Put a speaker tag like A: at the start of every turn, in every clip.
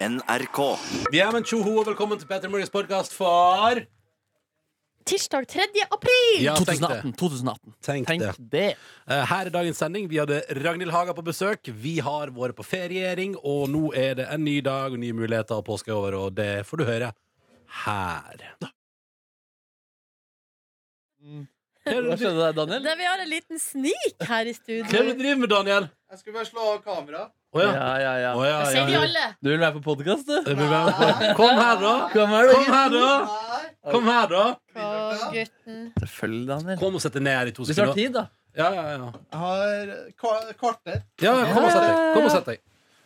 A: NRK.
B: Vi er med en tjoho, og velkommen til Petter Morris podcast for
C: Tirsdag 3. april!
B: Ja, tenk det.
D: 2018. 2018.
B: Tenk
D: Tenk
B: det.
D: det.
B: Eh, Her er dagens sending. Vi hadde Ragnhild Haga på besøk. Vi har vært på feriering, og nå er det en ny dag og nye muligheter, og påske er over, og det får du høre her. Hva er
D: Hva
B: det du-
D: skjedde der, Daniel?
C: Det, vi har en liten snik
B: hva
C: her i
B: er det
C: studio.
B: du driver med, Daniel?
E: Jeg skulle bare slå av kameraet.
B: Å
D: Ja,
B: ja.
D: ja, ja.
B: Å ja,
C: Jeg
B: ja,
C: ser de
B: ja.
C: alle.
D: Du vil være på podkast, du?
B: Det blir bra. Kom her, da.
D: Kom her,
B: Kom her, da.
E: Nei.
B: Kom her, da.
C: Å, gutten.
D: Selvfølgelig, Daniel.
B: Kom og sett deg ned her i to
D: Hvis du har
B: sekunder.
D: tid, da.
B: Ja, ja, ja.
E: Jeg har kva- kvarter.
B: Ja, ja, kom og sett deg. Kom og sett deg.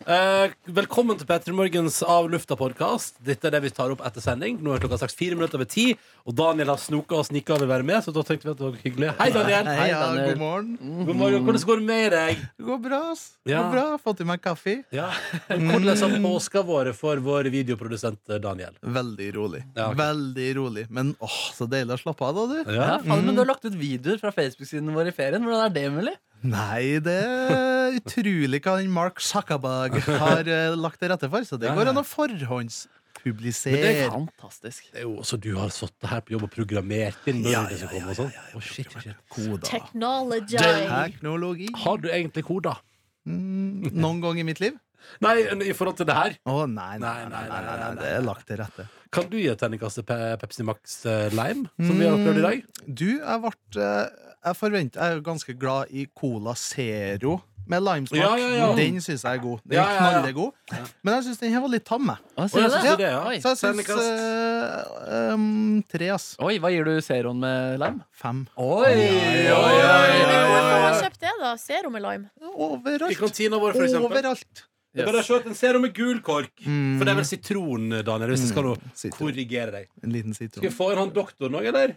B: Eh, velkommen til Petter Morgens Av lufta-podkast. Dette er det vi tar opp etter sending. Nå er klokka straks fire minutter over ti, og Daniel har snoka og snikka og vil være med, så da tenkte vi at det var hyggelig. Hei, Daniel. Mm.
E: Hei, ja,
D: Daniel.
E: god morgen.
B: God morgen. Hvordan går det med deg?
E: Det går bra. ass. Det
B: Ja.
E: går bra. Fått i meg kaffe.
B: Ja. Hvordan har påska vært for vår videoprodusent eh, Daniel?
E: Veldig rolig.
B: Ja, ok.
E: Veldig rolig. Men åh, så deilig å slappe av, da, du.
D: Ja, faen, men Du har lagt ut videoer fra Facebook-siden vår i ferien. Hvordan er det mulig?
E: Nei, det er utrolig hva den Mark Zuckerberg har eh, lagt til rette for. Så det
B: Ja,
E: går
B: ja.
E: an å forhåndspublisere.
D: Fantastisk.
B: Det er jo også du har sittet her på jobb og programmert inn når det skal komme og sånn. Å, shit, shit.
E: Koda.
C: Technology.
E: Teknologi.
B: Har du egentlig koder?
E: Mm, noen gang i mitt liv?
B: Nei, i forhold til det her.
E: Å nei, nei, nei, nei, nei, nei, nei, det er lagt til rette.
B: Kan du gi et terningkast til Pe- Pepsi Max eh, Lime, som vi har prøvd i dag?
E: Du, jeg ble eh, Jeg forvent- jeg er jo ganske glad i Cola Zero med limesmak.
B: Ja, ja, ja.
E: Den syns jeg er god. Den
B: Ja, ja, ja.
E: knallegod. Men jeg syns den her var litt tam, jeg.
D: Å,
B: Å,
D: sier
B: jeg
D: du
B: synes
D: det?
B: det, ja.
D: Oi.
E: Så jeg syns
B: Terningkast.
E: eh, em, tre, ass.
D: Oi, hva gir du Zeroen med lime?
E: Fem.
D: Oi,
C: Oi,
B: oi, oi,
C: Men hvorfor har man kjøpt det, da? Serum med lime.
B: I
E: Overalt.
B: kantina vår, for eksempel.
E: Overalt.
B: Det er bare å se at den ser ut med gul kork.
E: Mm.
B: For det er vel sitron, Daniel, hvis jeg skal nå
E: Sitron.
B: korrigere deg.
E: En liten
B: Skal
E: sitron.
B: vi få inn han doktoren òg, eller?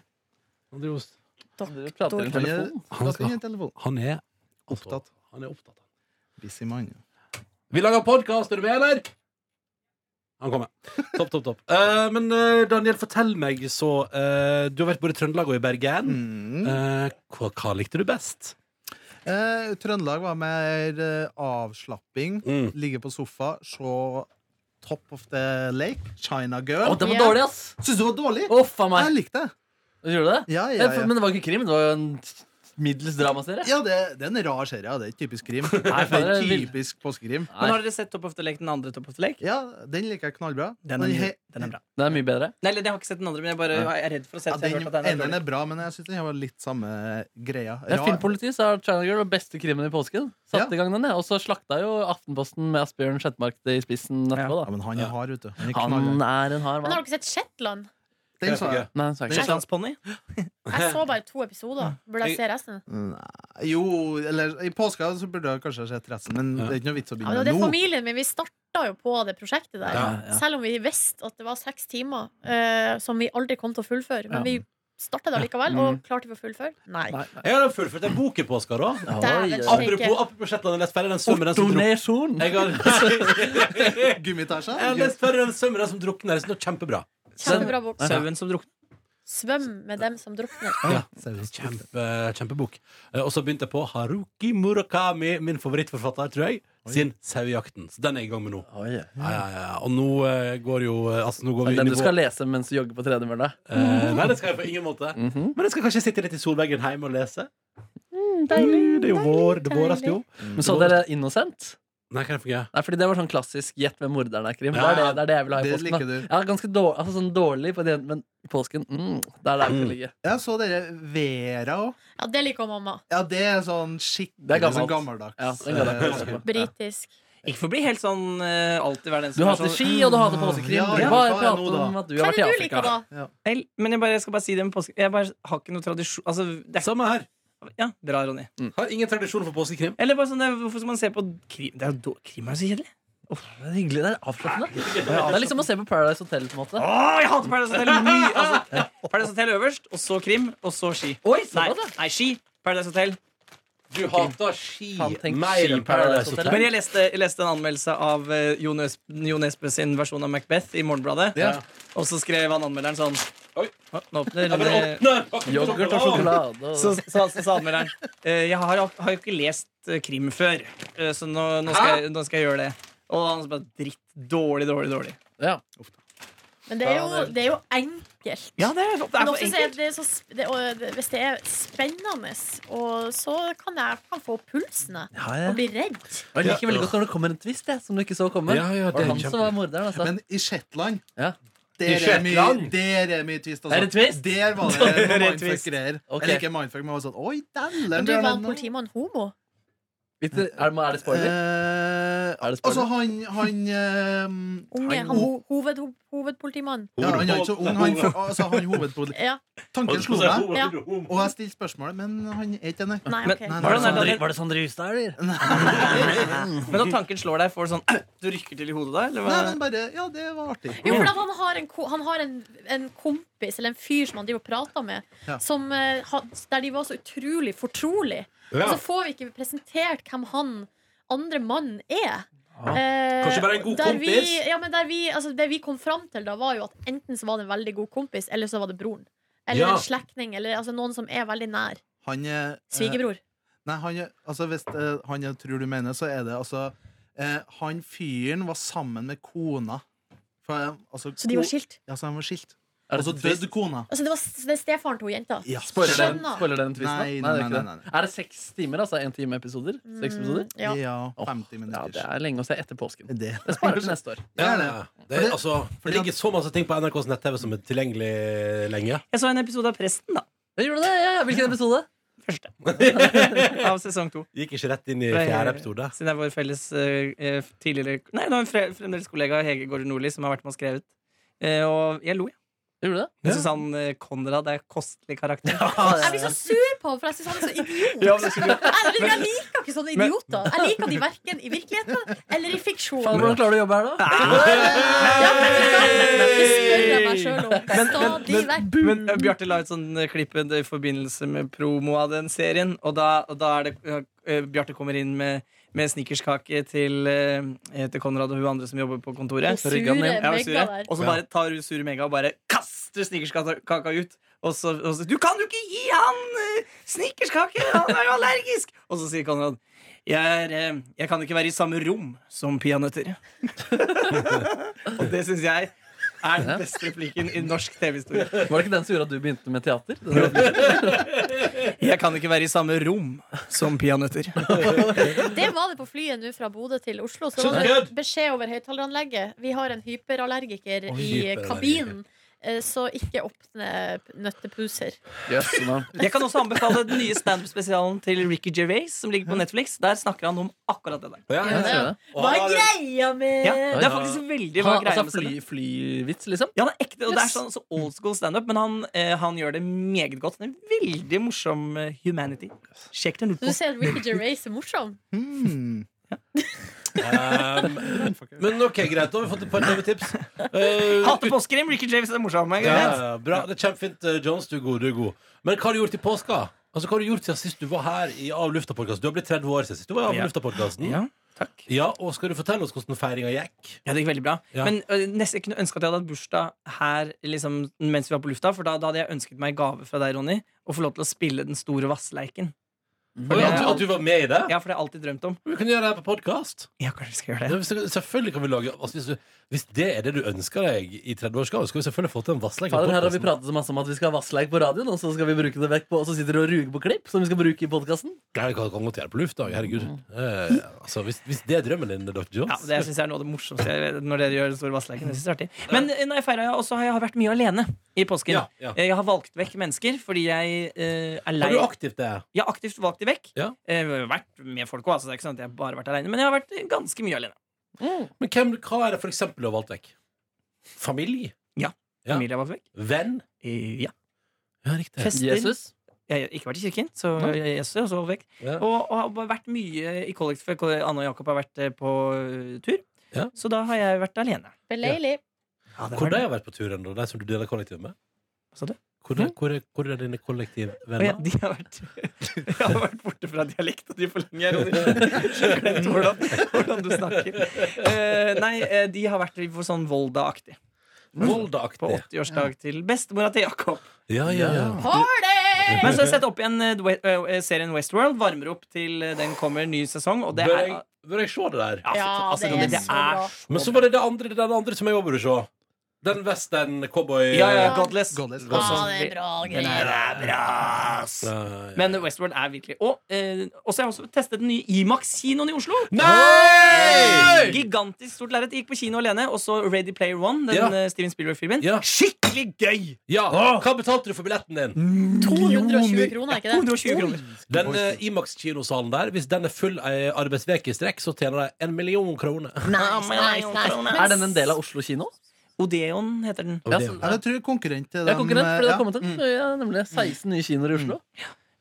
B: Han driver og-
D: Du prater i en
E: Han er,
D: telefon.
B: Han skal-
E: han er telefon.
B: Han er altså,
E: Opptatt.
B: Han er opptatt.
E: Busy mann.
B: Vi lager podkast, er du med, eller? Han kommer. Topp, topp, topp. Eh, men eh, Daniel, fortell meg så eh, Du har vært både i Trøndelag og i Bergen.
E: Mm.
B: Eh, hva, hva likte du best?
E: Eh, Trøndelag var mer eh, avslapping.
B: Mm.
E: Ligge på sofa, se Top of the Lake, China
D: Å,
E: Girl.
D: den var
C: Ja.
D: dårlig, ass!
E: Syns du det var dårlig?
D: Å, faen meg.
E: Jeg likte det.
D: Gjorde du Oh det?
E: Ja,
D: Eh,
E: ja, ja.
D: for- Men det var ikke krim, det var jo en middels dramaserie.
E: Ja, det, det er en rar serie. Ja. Det er ikke typisk krim.
D: Nei,
E: Det
D: faen, det er
E: er
D: vilt.
E: typisk påskekrim.
D: Nei.
F: Men har dere sett Top of the Lake, den andre Top of the Lake?
E: Ja, den liker jeg knallbra.
F: Den er,
E: Men he-
F: mye- den er bra.
D: Den er mye bedre.
F: Nei, eller, jeg har ikke sett den andre, men jeg, bare, jeg er redd for å se
E: Ja,
F: den. så
E: den
F: jeg har hørt at den er
E: enen
F: dårlig.
E: er bra, men jeg syns den her var litt samme greia.
D: Ja,
E: Rar.
D: Filmpoliti så er China Girl den beste krimmen i påsken. Satte
E: Ja.
D: i gang den, ja. Og så slakta jo Aftenposten med Asbjørn Sjetmark det i spissen etterpå,
E: Ja,
D: da.
E: men han er hard, vet du. Han er
D: Han
E: knallhard.
D: er en hard
C: Men har
D: mann.
C: dere sett Shetland?
E: Den sa jeg.
D: Nei, den sa jeg ikke.
F: Shetlandsponni?
C: Jeg så bare to episoder. Burde jeg se resten?
E: Nei, Jo, eller i påska så burde jeg kanskje ha sett resten, men det er ikke noe vits å
C: Ja, men
E: begynne
C: det er
E: nå.
C: familien min. Vi starta jo på det prosjektet der.
B: Ja,
D: ja.
C: Selv om vi visste at det var seks timer eh, som vi aldri kom til å fullføre. Men vi starta det allikevel, og klarte vi å fullføre? Nei.
D: Nei.
B: Jeg har fullført den boka i påska, da.
C: Dæven
D: Oi, oi.
C: steike.
B: Apropos, apropos Shetland, jeg leste ferdig den svømmer den som drukner.
D: Donasjon!
B: Jeg har,
E: Gummitasja?
B: jeg har lest ferdig den svømmer den som drukner. Jeg synes den er sånn kjempebra.
C: Kjempebra bok.
F: Sauen som drukner.
C: Svøm med dem som drukner.
B: Kjempe, kjempebok. Eh, Og så begynte jeg på Haruki Murakami, min favorittforfatter, tror jeg, sin 'Sauejakten'. Så den er jeg i gang med nå. Ja, ja, ja. Og nå eh, går jo eh, Altså, nå går vi
D: Den
B: inn
D: du
B: i
D: skal
B: vår-
D: lese mens du jogger på tredemølla.
B: Eh, Nei, det skal jeg på ingen måte.
E: Mhm.
B: Men jeg skal kanskje sitte litt i solveggen hjemme og lese. Mm, det er jo vår. Det våres jo.
D: Men så dere Innocent?
B: Nei, kan jeg få gjøre?
D: Nei, fordi Det var sånn klassisk gjett hvem morderen er. krim Det er det, det er det jeg vil ha i
E: Det
D: påsken. da.
E: liker du.
D: Ja, ganske dårlig, altså sånn dårlig på det, men i påsken mm, Det er der vi skal ligge.
E: Jeg så dere Vera òg.
C: Ja, det liker mamma.
E: Ja, det er sånn skikkelig
D: Det er gammelt.
E: sånn gammeldags.
D: Ja, den kan jeg ikke se
E: eh,
D: på.
C: Britisk.
F: Ikke for å bli helt sånn eh, alltid være den
D: Du
F: som er
D: hater
F: sånn
D: ski, og du hater påskekrim.
E: Ja,
D: du
E: ja,
D: bare
E: hva er
D: prater
E: nå da?
D: om at du
C: Hva
D: har
C: er
D: vært i
C: det du
D: Afrika.
C: liker, da?
F: Vel, Men jeg, bare, jeg skal bare si det med påske. Jeg bare har ikke noe tradisjon Altså, det er
B: Samme her.
F: ikke Ja, bra, Ronny.
B: Har ingen tradisjon for påskekrim.
F: Eller bare sånn, det er- hvorfor skal man se på krim? Det er jo då- krim er jo så kjedelig.
D: Det er hyggelig, det er avslappende. Det er liksom å se på Paradise Hotel. på en måte
F: Åh, jeg hater Paradise Hotel mye! Altså, Paradise Hotel øverst, og så krim, og så ski.
D: Oi,
F: Nei,
D: såpass, ja.
F: nei ski. Paradise Hotel.
B: Du hater ski
D: Han tenkte
B: mer
D: ski
B: enn Paradise
D: Hotel.
F: Men
B: Hotel.
F: jeg leste, jeg leste en anmeldelse av eh, Jo Nes- Jo Nesbø sin versjon av Macbeth i Morgenbladet.
B: Ja.
F: Og så skrev han anmelderen sånn
B: Oi.
F: Å, Nå åpner
B: Ja, men
F: eh,
B: åpne pakken med
D: Yoghurt og
B: sjokolade.
D: sjokolade. Og...
F: så, så, så sa anmelderen eh, Jeg har, har jo ikke lest eh, krim før, eh, så nå, nå, skal jeg, nå skal jeg gjøre det. Og han spilte dritt dårlig, dårlig, dårlig.
D: Ja.
C: Men det er jo,
D: Ja, det-
C: det er jo enkelt.
F: Ja, det er, det
C: Men
F: er for
C: ofte så er
F: enkelt.
C: det så, sp- det, og det- hvis det er spennende, og så kan jeg kan få pulsen jeg,
D: Ja, ja.
C: og bli redd.
D: Og jeg liker veldig godt når det kommer en twist jeg, som du ikke så komme.
B: Ja, ja, det
D: var
B: er
D: han
B: kjempe-
D: som var morderen. Altså.
E: Men i Shetland
D: Ja.
E: Der
B: I
E: er mye,
B: Shetland?
E: der er mye twist. Altså.
D: Er det twist?
E: Der var det noe
F: Der er twist.
E: mindfuck-greier.
D: Ok.
E: Eller ikke mindfuck, men var sånn Oi,
C: Men du
E: dælen! der er
C: var
E: den-
C: en politimann homo.
D: Vet du- er, det- er det spoiler?
E: Eh,
D: Er det spoiler?
E: altså, han Han, ehm,
C: Unge, han,
E: han,
C: ho, hoved, ho, hovedpolitimann.
E: ja, han er ikke så ung. Han, altså, han hovedpolitikk
C: Ja,
E: Tanken slo meg,
C: Ja.
E: og jeg stilte spørsmålet, men han er ikke det. nei.
C: nei,
F: Men-
C: ok.
E: Nei,
F: Var det
E: nei,
F: sånn der-
D: var det sånn rus da, eller?
F: Men da tanken slår deg, får du sånn Du rykker til i hodet da? Eller hva?
E: Nei, men bare Ja, det var artig.
C: Jo, for at han har, en, ko- han har en, en kompis, eller en fyr som han driver og prater med,
E: Ja.
C: som, eh, ha- der de var så utrolig fortrolig. Og
B: Altså,
C: så får vi ikke presentert hvem han andre mannen er. Eh,
B: Kanskje bare en god
C: der Vi,
B: kompis?
C: ja, men der vi, altså, det vi kom fram til da, var jo at enten så var det en veldig god kompis, eller så var det broren. Eller
B: Ja.
C: en slektning, eller altså, noen som er veldig nær.
E: Han er eh,
C: Svigerbror.
E: Nei, han, er- altså hvis eh, han jeg tror du mener, så er det altså eh, Han fyren var sammen med kona. For, eh, altså,
C: Så de var
E: ko-
C: skilt.
E: Ja, så han var skilt.
D: Er
E: Og
D: det
E: så
D: sånn twist?
E: døde kona.
C: Altså, det var s- det er stefaren til hun jenta.
E: Ja.
D: Spoiler den,
C: Skjønner.
D: spoiler den twisten? da?
E: Nei,
D: det er
E: nei,
D: ikke det.
E: nei, nei,
D: Er det seks timer? Altså én time episoder? Seks episoder?
C: Mm, ja.
E: ja
D: Åh,
E: 50
D: Ja,
E: minutter.
D: det er lenge å se etter påsken.
E: det er
D: Det sparer til neste år.
E: det er det.
B: Det, er, altså, det ligger så masse ting på NRKs nett-TV som er tilgjengelig lenge.
F: Jeg så en episode av Presten, da.
D: Ja, gjorde du det? Ja, ja. Hvilken episode?
F: Første. Av sesong to.
B: Gikk ikke rett inn i fjerde episode.
F: Siden det er vår felles eh, eh, tidligere Nei, det var en fre fremdeles kollega, Hege Gård Nordli, som har vært med og skrevet. Eh, og jeg lo, jeg.
D: Gjorde du det?
F: Jeg syns han eh, Konrad er kostelig karakter.
C: Jeg blir så sur på ham, for jeg syns han er så idiot.
F: Ja, men det skulle-
C: Nei, men jeg liker ikke sånne
F: Men-
C: idioter. Jeg liker de verken i virkeligheten eller i fiksjon.
D: Faen, hvordan klarer du å jobbe her, da?
C: Ja, men det spør jeg meg sjøl om. Stadig vekk.
F: Men eh, Bjarte la ut sånn eh, klipp i forbindelse med promo av den serien, og da, og da er det eh, Bjarte kommer inn med, med snickerskake til, eh, til Konrad og hun andre som jobber på kontoret.
C: Og sure
F: Ja, og sure.
C: mega der.
F: Og så bare tar hun sure mega og bare kaster snickerskaka ut. Og så, og så Du kan jo ikke gi han uh, snickerskake! Han er jo allergisk! Og så sier Konrad jeg, er, eh, jeg kan ikke være i samme rom som peanøtter. og det syns jeg er den beste replikken i norsk TV-historie.
D: Var det ikke den som gjorde at du begynte med teater? Den der-
F: Jeg kan ikke være i samme rom som peanøtter.
C: Det var det på flyet nå fra Bodø til Oslo. Så var det beskjed over høyttaleranlegget. Vi har en hyperallergiker
B: Oi,
C: i
B: hyperallergiker.
C: kabinen. eh, Så ikke åpne nøttepuser.
D: Jøss, mann.
F: Jeg kan også anbefale den nye standup-spesialen til Ricky Gervais som ligger på Netflix. Der snakker han om akkurat det der.
B: Ja,
C: Ja,
B: ja.
C: det er-
B: Og
C: Hva
B: han
C: er
B: er-
C: greia med
F: Ja, det er faktisk veldig hva
D: Ha,
F: greia
D: altså
F: med standup.
D: fly, flyvits, liksom?
F: Ja, det er ekte, og det er
C: Yes.
F: sånn så old school standup, men han, eh, han gjør det meget godt. Det er en veldig morsom eh, humanity. Sjekk den ut
C: Så du
F: på.
C: ser at Ricky Gervais er morsom?
E: Hmm.
B: Um, men ok, greit. Da har vi fått et par TV-tips. Eh,
F: Hater påskekrim! Ricky James er morsom. ikke
B: ja,
F: sant?
B: ja, bra, det er Kjempefint, eh, Jones. Du er god. du er god Men hva har du gjort i påska? Altså, hva har Du gjort siden sist du var her i Av lufta-podkasten? Du har blitt 30 år siden sist du var i Av
F: Ja.
B: lufta-podkasten.
F: Ja, takk.
B: Ja, og skal du fortelle oss hvordan feiringa gikk?
F: Ja, det gikk veldig bra.
B: Ja.
F: Men ø, nesten jeg kunne ønske at jeg hadde hatt bursdag her liksom, mens vi var på lufta, for da, da hadde jeg ønsket meg gave fra deg, Ronny, å få lov til å spille Den store vassleiken.
B: Oi, At, du- at du var med i det?
F: Ja, for det har jeg alltid drømt om.
B: Vi kan gjøre det her på podkast.
F: Ja, kanskje vi skal gjøre det.
B: Selvfølgelig kan vi lage altså, hvis, du, hvis det er det du ønsker deg i 30-årsgave, skal vi selvfølgelig få til en vassleik.
D: Fader, her har vi pratet så masse om at vi skal ha vassleik på radioen, og så skal vi bruke det vekk på Og så sitter du og ruger på klipp som vi skal bruke i podkasten.
B: Nei, vi kan kan godt gjøre det på lufta. Herregud. Eh, altså, hvis, hvis det er drømmen din, Dr.
F: Mm. Ja,
B: Jones
F: det synes jeg er noe av det morsomste jeg vet, når dere gjør Den store vassleiken. Det synes jeg er artig. Men ø, nei, feira jeg også, har jeg vært mye alene i påsken. Eh,
B: Ja, ja.
F: Jeg har valgt vekk mennesker fordi jeg ø, er lei
B: Har du aktivt det?
F: Jeg har aktivt valgt de vekk.
B: Ja.
F: Jeg har vært med folk òg, altså, det er ikke sånn at jeg har bare har vært alene. Men jeg har vært ganske mye alene.
B: Men hvem, hva er det for eksempel du har valgt vekk? Familie? Ja.
F: Familie har valgt vekk.
B: Venn?
F: Eh, Ja.
B: Ja, riktig.
F: Fester.
D: Jesus.
F: Jeg har ikke vært i kirken, så
D: Nei.
F: Jesus er også vekk.
B: Ja.
F: Og, og har bare vært mye i kollektiv. for Anne og Jakob har vært eh, på eh, tur.
B: Ja.
F: Så da har jeg vært alene.
C: Beleilig.
B: Hvor de har vært på turen, da? De som du deler kollektiv med?
F: Hva sa du?
B: Hvor, er- hvor, er- hvor er dine
F: Og jeg,
B: kollektivvenner?
F: de har vært, jeg har vært borte fra dialekta di for lenge. Ronny. Så jeg har glemt hvordan, hvordan du snakker. Eh, nei, eh, de har vært for sånn Volda-aktig.
B: Volda-aktig.
F: På 80-årsdag til bestemora til Jakob.
B: Ja, ja, ja.
C: Party!
F: Men så har jeg sett opp igjen eh, We- eh, serien Westworld. Varmer opp til eh, den kommer ny sesong. Og det
B: Bør
F: er
B: jeg, bør jeg se det der?
F: Ja,
C: Ja,
F: altså,
C: det er
F: det
C: så
F: er
C: bra.
B: Men så var det det andre, det den andre som jeg òg burde se. Den western cowboy
F: Ja, ja, Godless.
E: Godless.
C: Ja,
F: Også-
C: det er bra
F: Den
C: greier.
F: er bra, ass.
B: Ah, Nei.
F: Men Westworld er virkelig Og eh, også har jeg også testet den nye Imax-kinoen i Oslo.
B: Nei!
F: Gigantisk stort lerret. Gikk på kino alene. Og så Ready Player One, den
B: Ja.
F: eh, Steven Spielberg-filmen.
B: Ja.
F: Skikkelig gøy!
B: Ja, Hva betalte du for billetten din?
C: 220 kroner, er ikke det?
F: 220 kroner.
B: Den eh, Imax-kinosalen der, hvis den er full ei arbeidsveke i strekk, så tjener de en million kroner.
C: Nice, nice, nice. Men
D: Er den en del av Oslo kino?
F: Odeon heter den.
D: Ja,
B: Og det-
D: så-
E: Ja, jeg tror jeg er konkurrent til
D: Jeg er
E: dem,
D: konkurrent, for det
E: ja. Mm.
D: har kommet en, ja, mm. nemlig 16 nye kinoer i Oslo.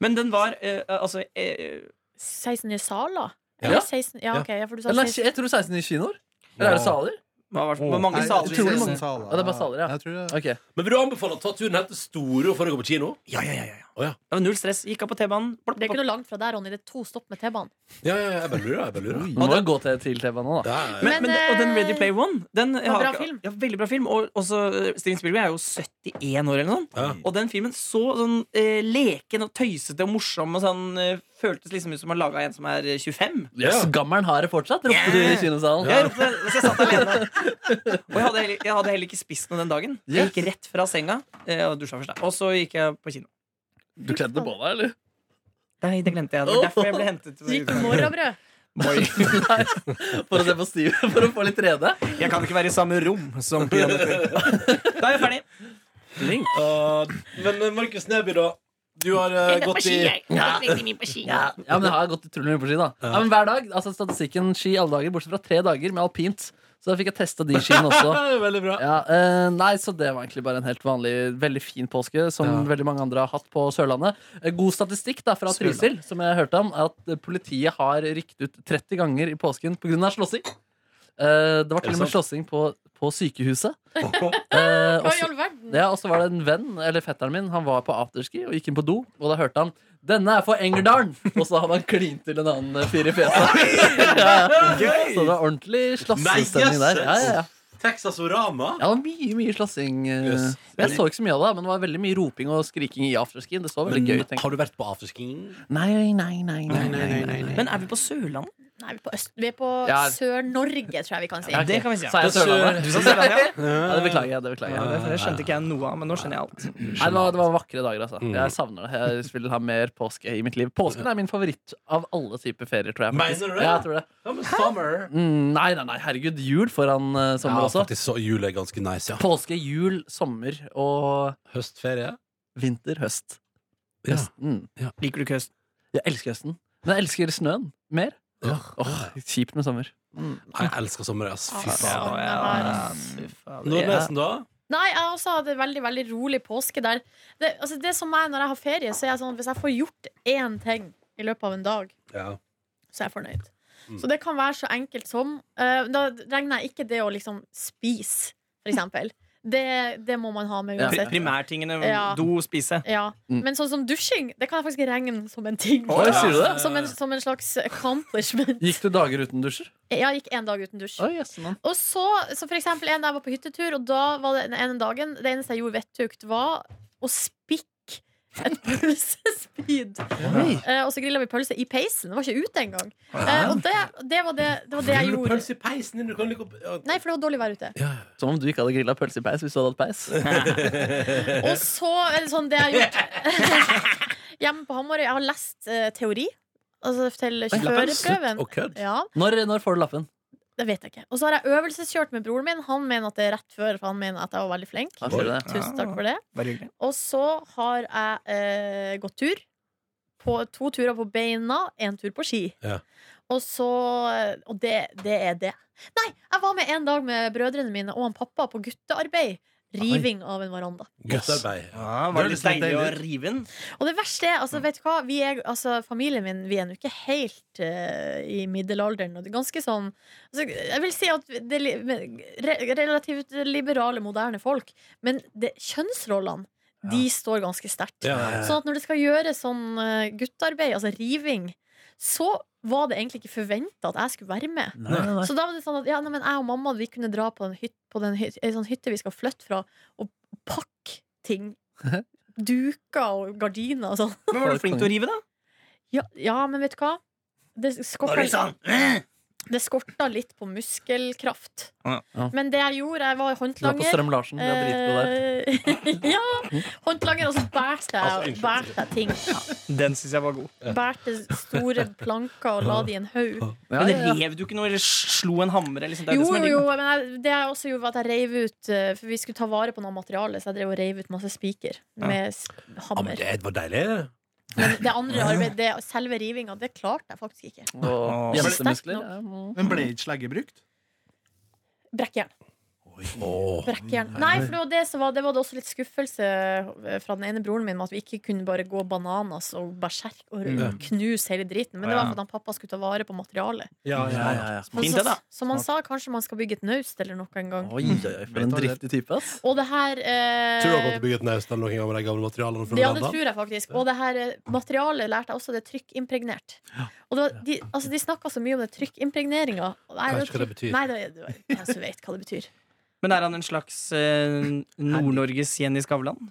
F: Men den var eh, altså eh,
C: 16 nye saler?
B: Ja.
C: Eller 16, ja, ok, ja, for du sa
D: Eller
C: 16.
D: jeg tror 16 nye kinoer. Eller er det saler?
F: hva var det, hvor mange
E: Nei,
F: saler
E: jeg
F: i
E: tror det er
F: serien?
E: sånn saler.
D: Ja, det er bare saler, ja.
E: Jeg tror det.
D: Ok
B: Men vil du anbefale å ta turen helt til Storo for å gå på kino?
F: Ja, ja, ja, ja.
B: Å, ja.
F: Det var null stress. Gikk av på T-banen. Plopp,
C: Det er ikke
F: plopp.
C: noe langt fra der, Ronny. Det er to stopp med T-banen.
B: Ja, ja, ja, jeg bare lurer. Jeg bare lurer.
D: Vi må jo gå til til T-banen nå, da.
B: Det er-
F: Men,
C: Men,
F: men, og den
C: eh,
F: Ready Player One den,
C: var
F: har
C: bra
F: ikke-
C: film.
F: Ja, veldig bra film. Og også eh, Steven Spielberg er jo 71 år eller noe. sånt.
B: Ja.
F: Og den filmen så sånn eh, leken og tøysete og morsom og sånn eh, føltes liksom ut som man laga en som er eh, 25.
B: Ja.
D: Skammeren har det fortsatt, ropte du i kinosalen.
F: Jeg ropte det mens jeg satt alene. Og jeg hadde, heller, jeg hadde heller ikke spist noe den dagen. Jeg gikk rett fra senga eh, og dusja først. da. Og så gikk jeg på kino.
D: Du kledde det på deg, eller?
F: Nei, det glemte jeg. Det var derfor jeg ble hentet.
C: Gikk morrabrød.
D: For å se på Steve, for å få litt 3D?
F: Jeg kan ikke være i samme rom som peanøtter. Da er jeg ferdig.
B: Uh, men eh, Markus Neby, da. Du har eh, gått i
D: Ja, ja men jeg har gått utrolig mye på ski, da. Ja, men hver dag, altså Statistikken ski alle dager, bortsett fra tre dager med alpint. Så da fikk jeg testa de skiene også.
B: Ja, Veldig bra.
D: Ja, eh, nei, så det var egentlig bare en helt vanlig, veldig fin påske, som veldig mange andre har hatt på Sørlandet. Eh, God statistikk da fra
F: Sørlandet.
D: Trysil, som jeg hørte om, er at eh, politiet har rykt ut 30 ganger i påsken pga. slåssing. Eh, det var til
B: det
D: og med
B: sant?
D: slåssing på, på sykehuset. Eh,
C: Hva i
D: også,
C: all verden?
D: ja, og så var det en venn, eller fetteren min, han var på afterski og gikk inn på do, og da hørte han 'Denne er for Engerdalen'! Og så hadde han klint til en annen eh, fyr i fjeset. ja, ja. Så det var ordentlig slåssestemning
B: Nei,
D: der. Ja, ja, ja.
B: Texas-orama.
D: Ja, det var mye mye slåssing. eh,
B: Yes.
D: Men jeg så ikke så mye av det, men det var veldig mye roping og skriking i afterskien. Det så veldig gøy ut. tenker jeg.
B: har du vært på afterski?
D: Nei, nei, nei, nei, nei, nei,
F: Men er vi på Sørlandet?
C: Nei, vi er på, øst- vi er på
D: Ja.
C: Sør-Norge, tror jeg vi kan si.
D: Ja, ok.
F: Det kan vi si, ja.
D: Sa jeg Sørlandet?
F: Du sa Sørlandet, ja?
D: Ja, det beklager jeg. det beklager jeg
F: Ja, Det skjønte ikke jeg noe av, men nå skjønner jeg alt.
D: Nei, det var, det var vakre dager, altså. Jeg savner det. Jeg vil ha mer påske i mitt liv. Påsken er min favoritt av alle typer ferier, tror jeg. faktisk.
B: Mener du det?
D: Ja, jeg tror det.
B: Ja, men summer.
D: Mm, nei, nei, nei, herregud. Jul foran eh, sommer
B: Ja,
D: også.
B: faktisk så jul er ganske nice, ja.
D: Påske, jul, sommer og
B: Høstferie.
D: vinter, høst.
B: Ja.
D: Høsten.
F: Liker du ikke høsten?
D: Jeg elsker høsten. Men jeg elsker snøen mer.
B: Ja.
D: Åh, Kjipt med sommer. Mm.
B: Jeg elsker sommer, ass. Fy faen.
C: Ja,
F: sånn
B: Nordnesen, da?
C: Nei, jeg har også hatt en veldig veldig rolig påske der. Det, altså, det som er Når jeg har ferie, så er jeg sånn hvis jeg får gjort én ting i løpet av en dag,
B: Ja.
C: så er jeg fornøyd. Så det kan være så enkelt som eh, Da regner jeg ikke det å liksom spise, for eksempel. Det, det må man ha med
D: Ja.
F: Pri-
C: uansett.
F: Primærtingene
C: Ja.
F: do, spise.
C: Ja.
D: Mm.
C: Men sånn som dusjing, det kan jeg faktisk regne som en ting.
D: Oi, sier du det?
C: Som en, som en slags accomplishment.
D: Gikk du dager uten dusjer?
C: Jeg gikk én dag uten dusj.
D: Oi, yes, man.
C: Og så, så for eksempel en dag jeg var på hyttetur, og da var det den ene dagen Det eneste jeg gjorde vettugt, var å spikke et pølsespyd.
D: Oi.
C: Eh, og så grilla vi pølse i peisen. Det var ikke ute engang. Eh, og det, det, var det, det var det jeg gjorde.
B: Pølse i peisen din, du kan like opp ja.
C: Nei, for det var dårlig vær ute.
D: Som om du ikke hadde grilla pølse i peis hvis du hadde hatt peis.
C: Og så er det sånn det jeg har gjort hjemme på Hamarøy. Jeg har lest eh, teori. Altså til
B: Slutt
C: kjøreprøven.
B: å kødde.
C: Ja,
D: Når, når får du lappen?
C: det vet jeg ikke. Og så har jeg øvelseskjørt med broren min. Han mener at det er rett før, for han mener at jeg var veldig flink.
D: Da sier du det.
C: Tusen takk for det.
F: Bare hyggelig.
C: Og så har jeg eh, gått tur. På to turer på beina, én tur på ski.
B: Ja.
C: Og så eh, Og det, det er det. Nei, jeg var med en dag med brødrene mine og han pappa på guttearbeid. Riving av en veranda.
B: Godt arbeid.
F: Ja, var det litt deilig å rive den?
C: Og det verste er, altså, vet du hva? Vi er, altså, familien min vi er nå ikke helt eh, i middelalderen. Og det er ganske sånn altså, Jeg vil si at det er li- men- re, relativt liberale, moderne folk. Men det, kjønnsrollene, de står ganske sterkt.
B: Ja, ja, ja.
C: Sånn at når det skal gjøres sånn eh, guttearbeid, altså riving, så var det egentlig ikke forventa at jeg skulle være med.
D: Nei, nei, nei.
C: Så da var det sånn at ja, nei, men jeg og mamma vi kunne dra på, den hyt, på den hyt, ei sånn hytte vi skal flytte fra, og pakke ting duker og gardiner og sånn.
F: Men var du flink til å rive, da?
C: Ja, ja, men vet du hva? Det skorta,
F: Bare sånn. eh.
C: det skorta litt på muskelkraft.
F: Ja.
D: Ja.
C: Men det jeg gjorde, jeg var
D: Du var på
C: håndlanger.
D: Strøm Larsen. Vi er dritgode der.
C: Eh, ja! Håndlanger, og så bærte jeg,
B: Altså, unnskyld.
C: bærte jeg ting.
F: Den syns jeg var god.
C: Bærte store planker og la de i en haug.
D: Ja,
F: Men
D: ja, ja.
F: rev du ikke noe, eller slo en hammer? Eller sånt, det er
C: Jo,
F: det som er
C: jo,
F: digg.
C: jo, men jeg, det jeg også gjorde, var at jeg reiv ut eh, For vi skulle ta vare på noe materiale, så jeg drev og reiv ut masse spiker
F: Ja.
C: med s-
B: Ja, men
C: hammer.
B: det var deilig.
C: Men det andre arbeidet, det, selve rivinga, det klarte jeg faktisk ikke.
D: Og
C: Sterkt
D: jentemuskler.
C: nok.
D: ja, mm.
E: Men ble ikke slegge brukt?
C: Brekkjern.
B: Åh.
C: Brekkjern. Nei, for det var det, som var, det var det også litt skuffelse eh, fra den ene broren min med at vi ikke kunne bare gå bananas og berserk og knuse hele driten. Men det var
F: Mm. Ja.
C: fordi han pappa skulle ta vare på materialet.
B: Ja, ja, ja.
C: Men
F: Fint
C: så-
F: det, da.
C: Som han sa, kanskje man skal bygge et naust eller noe en gang.
D: Oi, oi, oi, for en driftig type, ass.
C: Og det her eh,
B: Tror du han kommer til å bygge et naust eller noen gang med de gamle materialene fra
C: Ja, det
B: Uganda?
C: tror jeg faktisk. Og det her eh, materialet lærte jeg også, det er trykkimpregnert. Og det var, de, altså, de snakka så mye om det trykkimpregneringa. Nei,
B: Jeg vet ikke hva det betyr.
C: Nei, det, det var ingen som vet hva det betyr.
F: Men er han en slags eh, Nord-Norges Jenny Skavlan?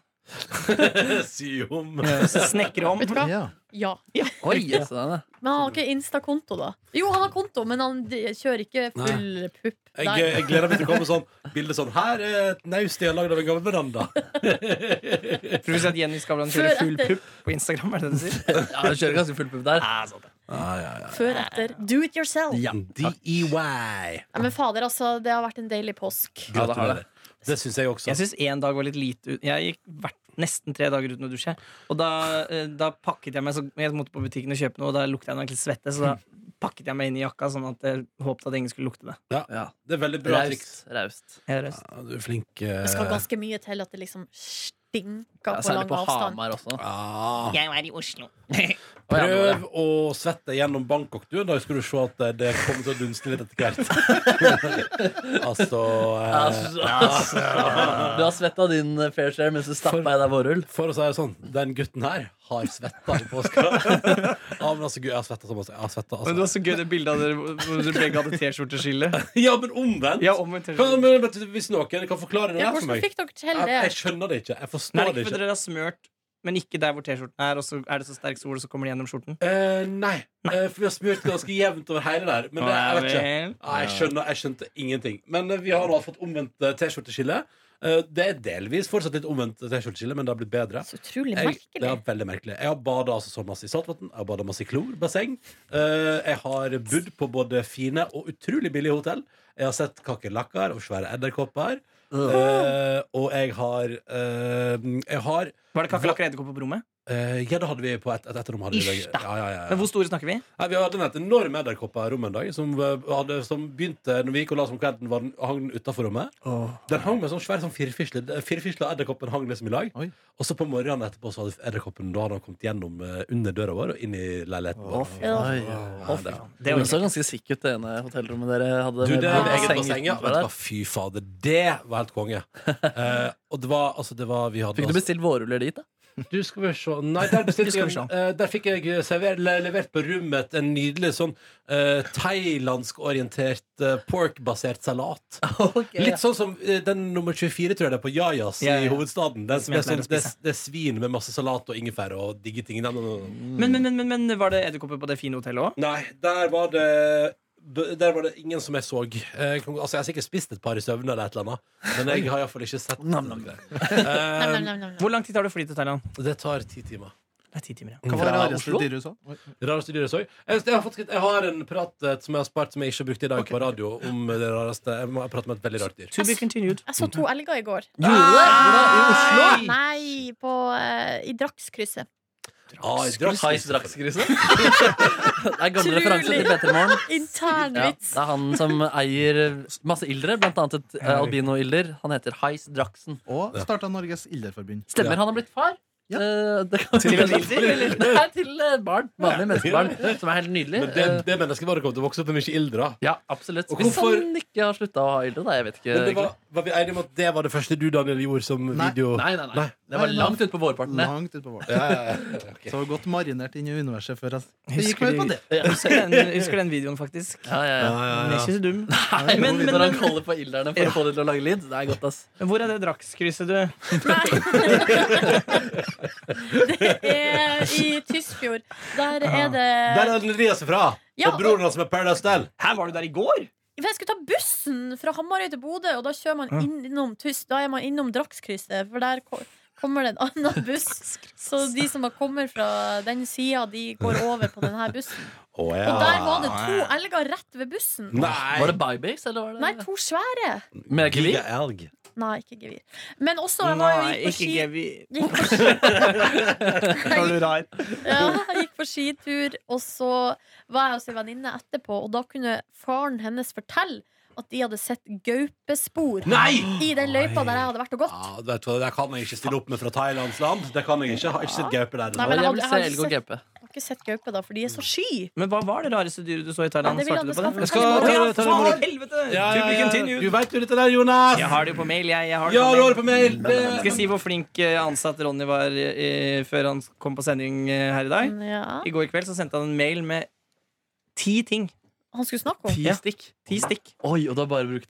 F: Eh,
B: Si om.
F: Snekker om?
C: Vet du hva?
E: Ja.
C: Ja.
D: Oi, yes, den er.
C: Men han har ikke Insta-konto, da. Jo, han har konto, men han d- kjører ikke full pupp
B: Jeg, eh,
C: der.
B: jeg gleder meg til å komme sånn bilde sånn Her er et naust jeg har lagd av en gammel veranda.
F: Tror du ikke at Jenny Skavlan
C: Før
F: kjører full
C: etter.
F: pupp på Instagram? Er det det du sier?
D: Ja, du kjører ganske full pupp der.
F: Nei, sant det. sånn.
C: Før etter. Do it yourself.
B: Ja, E DEY.
C: Nei, men fader, altså. Det har vært en deilig påsk.
D: Ja, det har
B: Gratulerer. Det syns jeg også.
F: Jeg syns én dag var litt lite ut. Jeg gikk hvert, nesten tre dager uten å dusje. Og da, eh, da pakket jeg meg så Jeg måtte på butikken og kjøpe noe, og da lukta jeg nok litt svette. Så da pakket jeg meg inn i jakka, sånn at jeg håpet at ingen skulle lukte det.
D: Ja.
B: Det er veldig bra triks.
D: Raust. raust.
F: Jeg er raus.
B: Ja, du er flink. eh.
C: Det skal ganske mye til at det liksom stinker
D: Ja,
C: på
D: særlig
C: lang
D: på
C: avstand.
D: Hamar også.
B: Ja.
F: Jeg er i Oslo.
D: Å, ja, det var
B: Prøv
D: det.
B: å svette gjennom Bangkok, du. Da skal du se at eh, det- det kommer til å dunste litt etter hvert. altså eh,
D: Altså, Du har svetta din eh, fair share mens du stappa i deg vårrull.
B: For å si det sånn, den gutten her har svetta i påska. ja, men altså, gud, jeg har svetta så masse. Jeg har svetta,
F: Men det
B: altså.
F: var så gøy det bildet av dere hvor dere begge hadde T-skjorteskille.
B: Ja, men omvendt!
F: Ja, om en
B: Kan,
F: T-skjorte.
B: men, vet du, hvis noen kan forklare det
C: Ja,
B: der for
C: hvordan
B: meg
C: fikk dere til
B: jeg,
C: det?
B: jeg skjønner det ikke. Jeg
F: Nei,
B: forstår
F: det er
B: det ikke.
F: ikke fordi dere har smørt, men ikke der hvor T-skjorten er, og så er det så sterk sol, og så kommer det gjennom skjorten.
B: Eh, nei, Eh, for vi har smurt ganske jevnt over hele der. Men det, jeg vet ikke. Ja, jeg, skjønner, jeg skjønte ingenting. Men eh, vi har nå fått omvendt eh, T-skjorteskille. Eh, Det er delvis fortsatt litt omvendt eh, T-skjorteskille, men det har blitt bedre.
C: Så utrolig
B: Jeg, det
C: merkelig.
B: er veldig merkelig Jeg har bada altså så masse i saltvann, jeg har bada masse i klorbasseng. Eh, Jeg har bodd på både fine og utrolig billige hotell. Jeg har sett kakerlakker og svære edderkopper. Eh, og jeg har eh, Jeg har
F: Var det kakerlakker og edderkopper på rommet?
B: eh, Ja, det hadde vi på et, et etterrom. Hadde vi det.
F: Ish, da.
B: Ja, ja, ja, ja.
F: Men hvor store snakker vi?
B: Nei, Vi hadde en enorm edderkopperom en dag som, eh, hadde, som begynte når vi gikk og la oss om kvelden, var den, hang den utafor rommet. Den hang med sånn svær sånn firfisle. Det- Firfisle og edderkoppen hang liksom i lag.
E: Oi.
B: Og så på morgenen etterpå så hadde edderkoppen da hadde han kommet gjennom eh, under døra vår og inn i leiligheten vår.
C: Ja.
B: Ja, det-
F: Det
D: Det
F: var
C: Altså-
D: så ganske sikkert det ene hotellrommet dere hadde.
B: Du,
D: med
B: det
D: basseng
B: er eget basseng, ja.
D: utenfor
B: Vet du
D: der.
B: hva, fy fader, det var helt konge. Eh, og det var altså det var, vi hadde
D: Fikk du
B: altså-
D: bestilt vårruller dit, da?
B: Du skal vi se Nei, der bestilte
F: skal vi
B: jeg en- eh, Der fikk jeg server, le- levert på rommet En nydelig sånn eh, Thailandsk-orientert eh, Pork-basert salat Litt sånn som eh, den nummer 24 tror jeg det er På Jajas
F: Ja, ja.
B: i hovedstaden Den som
F: jeg
B: er sånn,
F: pleier å
B: det,
F: spise.
B: det er svin med masse salat og ingefær Og digge ting Nei, nei, nei, nei.
F: Men, men, men, men, men var det edderkopper på det fine hotellet òg?
B: Nei, der var det b- der var det ingen som jeg så Eh, jeg kan- Altså jeg har sikkert spist et par i søvn eller et eller annet Men jeg har i hvert fall ikke sett det.
C: Nei,
B: Eh,
C: nei, nei, nei, nei.
F: Hvor lang tid tar det å fly til Thailand?
B: Det tar ti timer
F: Det er ti timer, ja.
E: Hva var det
D: Fra
E: rareste
D: Oslo?
E: dyret du så? Oi.
B: Rareste dyret så jeg. Jeg, jeg, har faktisk, jeg har en prat eh, som jeg har spart som jeg ikke har brukt i dag på radio, om det rareste. Jeg må prate med et veldig rart dyr.
F: To be continued.
C: Jeg så to elger i går.
D: Gjorde du det? Hvor da? I Oslo?
C: Nei, på, eh, i Drakskrysset.
B: Ah, jeg drakk-
D: Hais Drakskrysset? Det er gamle referanser til Petremorgen.
C: Intern
D: Ja,
C: vits.
D: det er han som eier masse ildre, blant annet et eh, albino-ilder. Han heter Hais Draksen.
E: Og starta Norges Ilderforbund.
D: Stemmer,
B: Ja.
D: han har blitt far.
E: Ja.
D: Eh, Det kan
F: Til en ilder, eller?
D: Det er til eh, barn. Vanlige menneskebarn. Som er helt nydelig.
B: Men det,
D: Eh,
B: det mennesket bare kom til å vokse opp med mye ildre.
D: Ja, absolutt.
B: Og
D: Hvis
B: hvorfor-
D: han ikke har slutta å ha ildre, da. Jeg vet ikke.
B: Men det var,
D: egentlig.
B: var vi enige om at det var det første du, Daniel, gjorde som
E: Nei.
B: video?
D: Nei, nei, nei.
B: Nei,
D: Det var
E: Nei,
D: langt utpå vårparten. det.
E: Langt utpå våren.
B: Ja, ja, ja. Ok.
E: Så godt marinert inn i universet før jeg Det gikk
F: Husker
E: meg ut på
F: du-
E: det.
F: Husker den, husker den videoen, faktisk.
D: Ja, ja, ja.
F: Den er ikke så dum.
D: Nei,
F: Men- men-
D: Når han kaller på ilderne for å få det til å lage lyd. Det er godt, ass.
F: Men hvor er det drakskrysset, du?
C: Nei. Det er i Tysfjord. Der er
B: Der
C: det
B: er den Elias fra!
C: Ja,
B: og broren hans med Paradise Del.
F: Her var du der i går!
C: For Jeg skulle ta bussen fra Hamarøy til Bodø, og da kjører man innom Tyst Da er man innom Drakskrysset, for der ko- kommer det en annen buss. Så de som har kommer fra den sida, de går over på denne bussen.
B: Oh,
C: Og der var det to elger rett ved bussen.
B: Nei!
D: Var det Bybix, eller var det
C: Nei, to svære.
D: Med gevir?
B: Gigaelg.
C: Nei, ikke gevir. Men også, jeg var jo
F: Nei,
C: gikk på
F: ikke
C: ski.
F: Gevi.
C: Gikk på ski.
F: Var du rar?
C: Ja, jeg gikk på skitur, og så var jeg hos ei venninne etterpå, og da kunne faren hennes fortelle at de hadde sett gaupespor i den løypa der jeg hadde vært og gått.
B: Ja, vet du hva, Det kan jeg ikke stille opp med fra Thailandsland. Det kan jeg ikke. Jeg har ikke sett gaupe der.
C: Nei, men-
D: Jeg
C: jeg
D: vil
C: har-
D: se
C: jeg har
D: Elg og GP.
C: Jeg har ikke sett gaupe, da, for de er så sky.
F: Men hva var det rareste dyret du så i
C: Ja,
F: Thailand?
C: det vil jeg
F: Svarte du på
C: at
F: det?
C: jeg skal ta-
F: Jeg
B: Jeg skal ta- ta- ta-
F: faen,
B: Ja,
F: helvete!
B: ja,
F: To be
B: ja.
F: continued.
B: Du vet jo dette der, Jonas!
F: Jeg har det jo på mail, jeg. jeg har det
B: Ja,
F: på
B: du
F: mail.
B: har det på mail!
F: Skal jeg si hvor flink eh, ansatt Ronny var eh, før han kom på sending eh, her i dag?
C: Ja.
F: I går kveld så sendte han en mail med ti ting.
C: Han skulle snakke om.
F: Ja.
D: stikk.
F: Ti stikk.
D: Oi, og du har bare brukt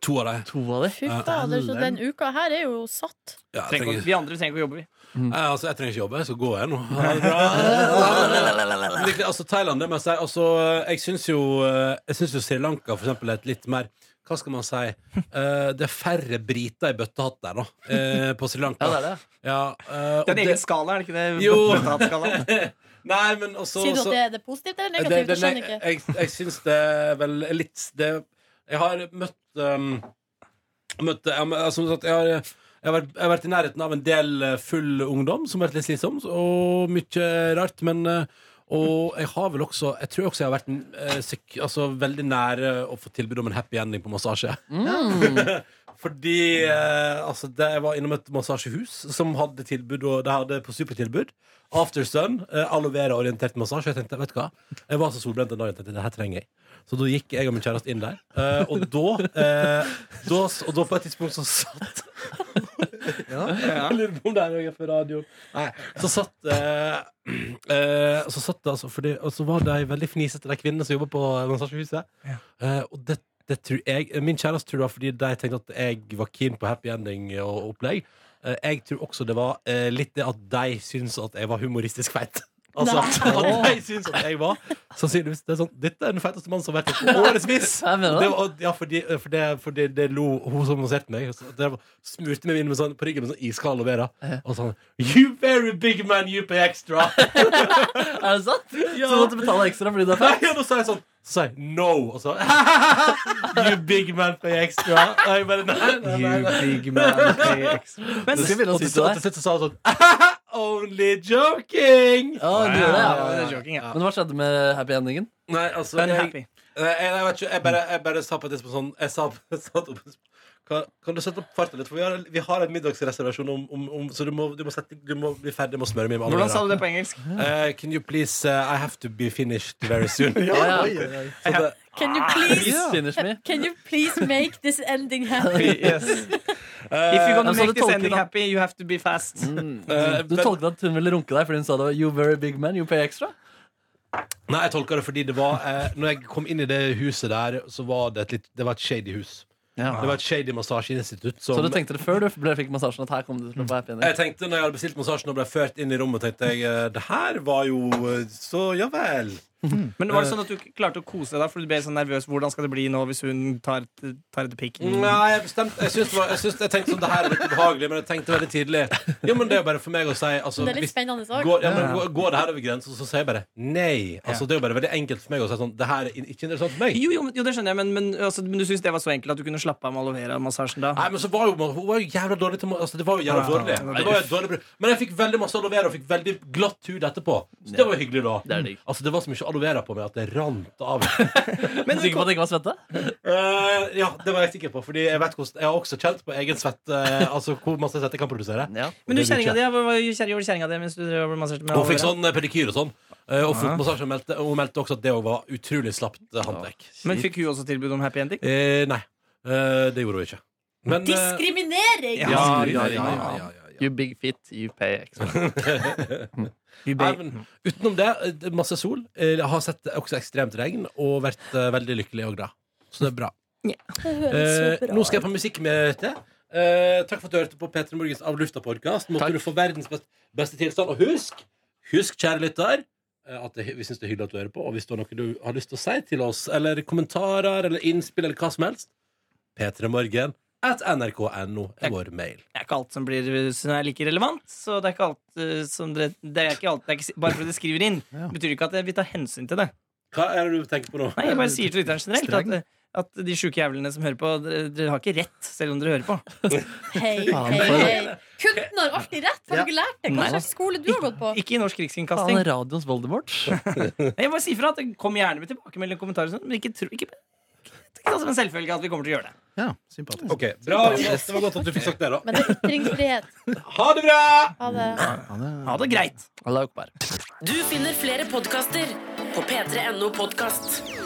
B: to av dem.
D: to av dem?
C: Fy fader, så den uka her er jo satt.
B: Ja, jeg,
F: Trenger ikke å-
B: trenger,
F: Vi andre trenger ikke å jobbe, vi.
B: Nei, altså, jeg trenger ikke jobbe, så går jeg nå. Ha det bra. Men virkelig, altså, Thailand, det må jeg si. Altså, jeg syns jo, eh, jeg synes jo Sri Lanka for eksempel, er et litt mer Hva skal man si? Eh, det er færre briter i bøttehatt der nå, eh, på Sri Lanka.
D: Ja, det er det.
B: Ja, eh, og
F: Det er en
B: det-
F: egen skala, er det ikke det?
B: Jo.
F: Bøttehattskalaen.
B: Nei, men også,
C: Sier du at
B: også-
C: det er det positivt eller
B: Det- det-
C: negativt? Jeg skjønner
B: Jeg,
C: ikke.
B: jeg, jeg syns det er vel litt det, Jeg har møtt um, Møtt jeg, har mø- altså, som sagt, jeg, har, jeg, har vært, jeg har vært i nærheten av en del eh, full ungdom som har vært litt slitsom, og mye rart. Men eh, og jeg har vel også Jeg tror også jeg har vært eh, syk, altså, veldig nære å få tilbud om en happy ending på massasje. Fordi eh, altså, det, jeg var innom et massasjehus som hadde tilbud, og det hadde på supertilbud. Aftersun, eh, aloe vera-orientert massasje. Jeg tenkte, vet du hva? Jeg var så solbrent den dagen, jeg tenkte, det her trenger jeg. Så da gikk jeg og min kjæreste inn der. eh, og, da, eh, da, s- og da på et tidspunkt så satt
F: Ja.
B: Jeg lurer på om det er noe for radioen. Nei, så satt eh, eh, Så satt det altså fordi, Og så var de veldig fnisete, de kvinnene som jobber på massasjehuset. Eh, og det, det tror jeg Min kjæreste tror det var fordi de tenkte at jeg var keen på happy ending og opplegg. Eh, jeg tror også det var eh, litt det at de syntes at jeg var humoristisk feit. Altså, at de syntes at jeg var Sannsynligvis. Det er sånn, Dette er den feiteste mannen som har vært her på årevis!
D: Jeg mener
B: Det
D: det.
B: var, ja, fordi, fordi, fordi det lo hun som masserte meg. Så det var, smurte meg inn med sånn, på ryggen med sånn iskald aloe vera. Og sånn You very big man, you pay extra!
D: Er det sant?
B: Ja.
D: Så du måtte betale ekstra fordi du er
B: Nei,
D: feit?
B: og da sa jeg sånn Så sa jeg no. Og så You big man, pay extra. Og jeg bare nei, nei, nei. nei.
F: Men
D: Det skal vi begynne å
B: Og
D: si
B: til
D: til
B: og til
D: deg.
B: slutt så sa hun sånn Only joking!
D: Ja, du gjør det, ja.
F: det er joking, ja.
D: Men hva skjedde med happy endingen?
B: Nei, altså
F: Den er
B: jeg,
F: happy.
B: Nei, jeg, jeg vet ikke, jeg bare, jeg bare sa på et tidspunkt sånn Jeg sa, jeg satt opp kan, kan du sette opp farten litt? For vi har, vi har en middagsreservasjon, om, om, om, så du må, du, må sette, du må bli ferdig med å smøre mye med
F: Hvordan sa du det på engelsk?
B: Eh, can you please eh, I have to be finished very soon.
D: Ja,
E: Oi,
D: ja.
E: oi, oi.
B: Så det,
C: Can
F: Ah,
C: you
D: Please
C: please
D: finish me.
C: Can you please make this ending happen?
F: Yes. If you're gonna
D: Altså, det
F: make this
D: tolker
F: ending
D: da.
F: happy, you have to be fast. Mm,
B: eh,
D: Du
B: men-
D: tolket at hun ville runke deg fordi hun sa det var You very big man, you pay extra?
B: Nei, jeg tolka det fordi det var eh, Når jeg kom inn i det huset der, så var det et litt Det var et shady hus. Det var et shady massasjeinstitutt. som-
D: Så du tenkte det før du ble, fikk massasjen, at her kom du til å få happy ending?
B: Jeg tenkte når jeg hadde bestilt massasjen og ble ført inn i rommet, tenkte jeg eh, det her var jo eh, Så ja vel.
F: Men var det sånn at du ikke klarte å kose deg, for du ble så nervøs? Hvordan skal det bli nå hvis hun tar, tar et pikk?
B: Nei, Mm. jeg bestemte Jeg, syntes det var, jeg, syntes- jeg tenkte sånn, det her er litt ubehagelig, men jeg tenkte veldig tidlig Jo, men det er jo bare for meg å si altså,
C: Det er litt
B: hvis-
C: spennende òg.
B: Går, ja, men, går, går det her over grensen, så sier jeg bare nei. Altså, Det er jo bare veldig enkelt for meg å si sånn Det her er ikke interessant for meg.
F: Jo, jo, men- jo, det skjønner jeg, men, men, altså, men du syns det var så enkelt at du kunne slappe av med aloe vera-massasjen da?
B: Nei, men så var jo, Hun var jo jævla dårlig til altså, Det var jo jævla
F: Ja,
B: dårlig.
F: ja, ja.
B: Det var jo et dårlig bruk. Men jeg fikk veldig masse aloe vera og fikk veldig glatt hud etterpå. Så det var jo hyggelig, da.
D: Det er digg.
B: Altså, det var så mye aloe vera på meg at det rant av.
D: Men sikker på at det ikke var svette?
B: Eh, ja, det var jeg sikker på. Fordi jeg, vet hvordan, jeg har også kjent på egen svett. eh, altså hvor masse svett jeg kan produsere.
D: Ja.
F: Men du,
B: Det er
F: kjerringa
B: ikke.
F: di, hva hva gjorde kjerringa di mens du drev og masserte med
B: Hun fikk
F: aloe vera?
B: sånn eh, pedikyr og sånn. eh, og fotmassasje. og meldte- og Hun meldte også at det òg var utrolig slapt eh, håndverk.
F: Men fikk hun også tilbud om happy ending?
B: Eh, nei, Eh, det gjorde hun ikke. Men eh,
C: Diskriminering!
B: ja,
F: Ja,
B: ja, ja, ja, ja, ja.
D: you big fit, you pay extra.
B: Nei, men utenom det, det er masse sol. Eh, Jeg har sett også ekstremt regn og vært eh, veldig lykkelig og glad. Så det er bra.
C: Det høres så
B: Eh,
C: bra
B: nå skal jeg
C: ut.
B: på musikkmøte. Eh, takk for at du hørte på P3 Morgens Av lufta-podkast. Måtte
D: Takk.
B: du få verdens best, beste tilstand. Og husk, husk kjære lytter, eh, at det, vi syns det er hyggelig at du hører på. Og hvis det er noe du har lyst til å si til oss, eller kommentarer eller innspill eller hva som helst, p3morgen at nrk.no er vår mail.
F: Det er ikke alt som, blir, som er like relevant. Så det er ikke alt eh, som dere det er ikke alt, det er ikke, si- Bare fordi dere skriver inn,
E: Ja.
F: betyr ikke at vi tar hensyn til det.
B: Hva er det du tenker på nå?
F: Nei, jeg bare sier til lytteren generelt at, at de sjuke jævlene som hører på, dere, dere har ikke rett, selv om dere hører på.
C: Hei, hei, hei. Kunsten har alltid rett. Har du ikke lært det? Hva
F: Nei.
C: slags skole du har gått på?
F: Ikke i Norsk Rikskringkasting.
D: Han er radioens Voldemort.
F: Nei, Jeg bare sier fra at det- Kom gjerne med tilbakemelding og kommentarer, og sånt, men ikke, tro- ikke, ikke ta som en selvfølge at vi kommer til å gjøre det.
E: Ja, sympatisk.
B: Ok, bra. Jonas. Det var godt at du fikk sagt det, da.
C: Men det er ytringsfrihet.
B: Ha det bra!
C: Ha det.
E: Ja, det-
F: Ha det greit.
D: Allah akbar.
A: Du finner flere podkaster på p3.no podkast.